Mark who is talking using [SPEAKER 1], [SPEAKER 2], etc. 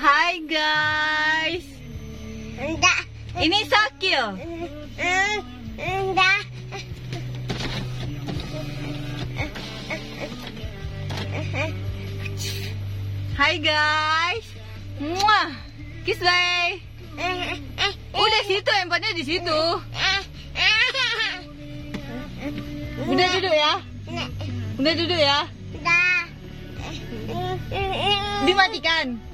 [SPEAKER 1] Hi guys.
[SPEAKER 2] Enggak.
[SPEAKER 1] Ini Sakil.
[SPEAKER 2] Enggak.
[SPEAKER 1] Hi guys. Muah. Kiss bye. Udah situ empatnya di situ. Udah duduk ya. Udah duduk ya. Dimatikan.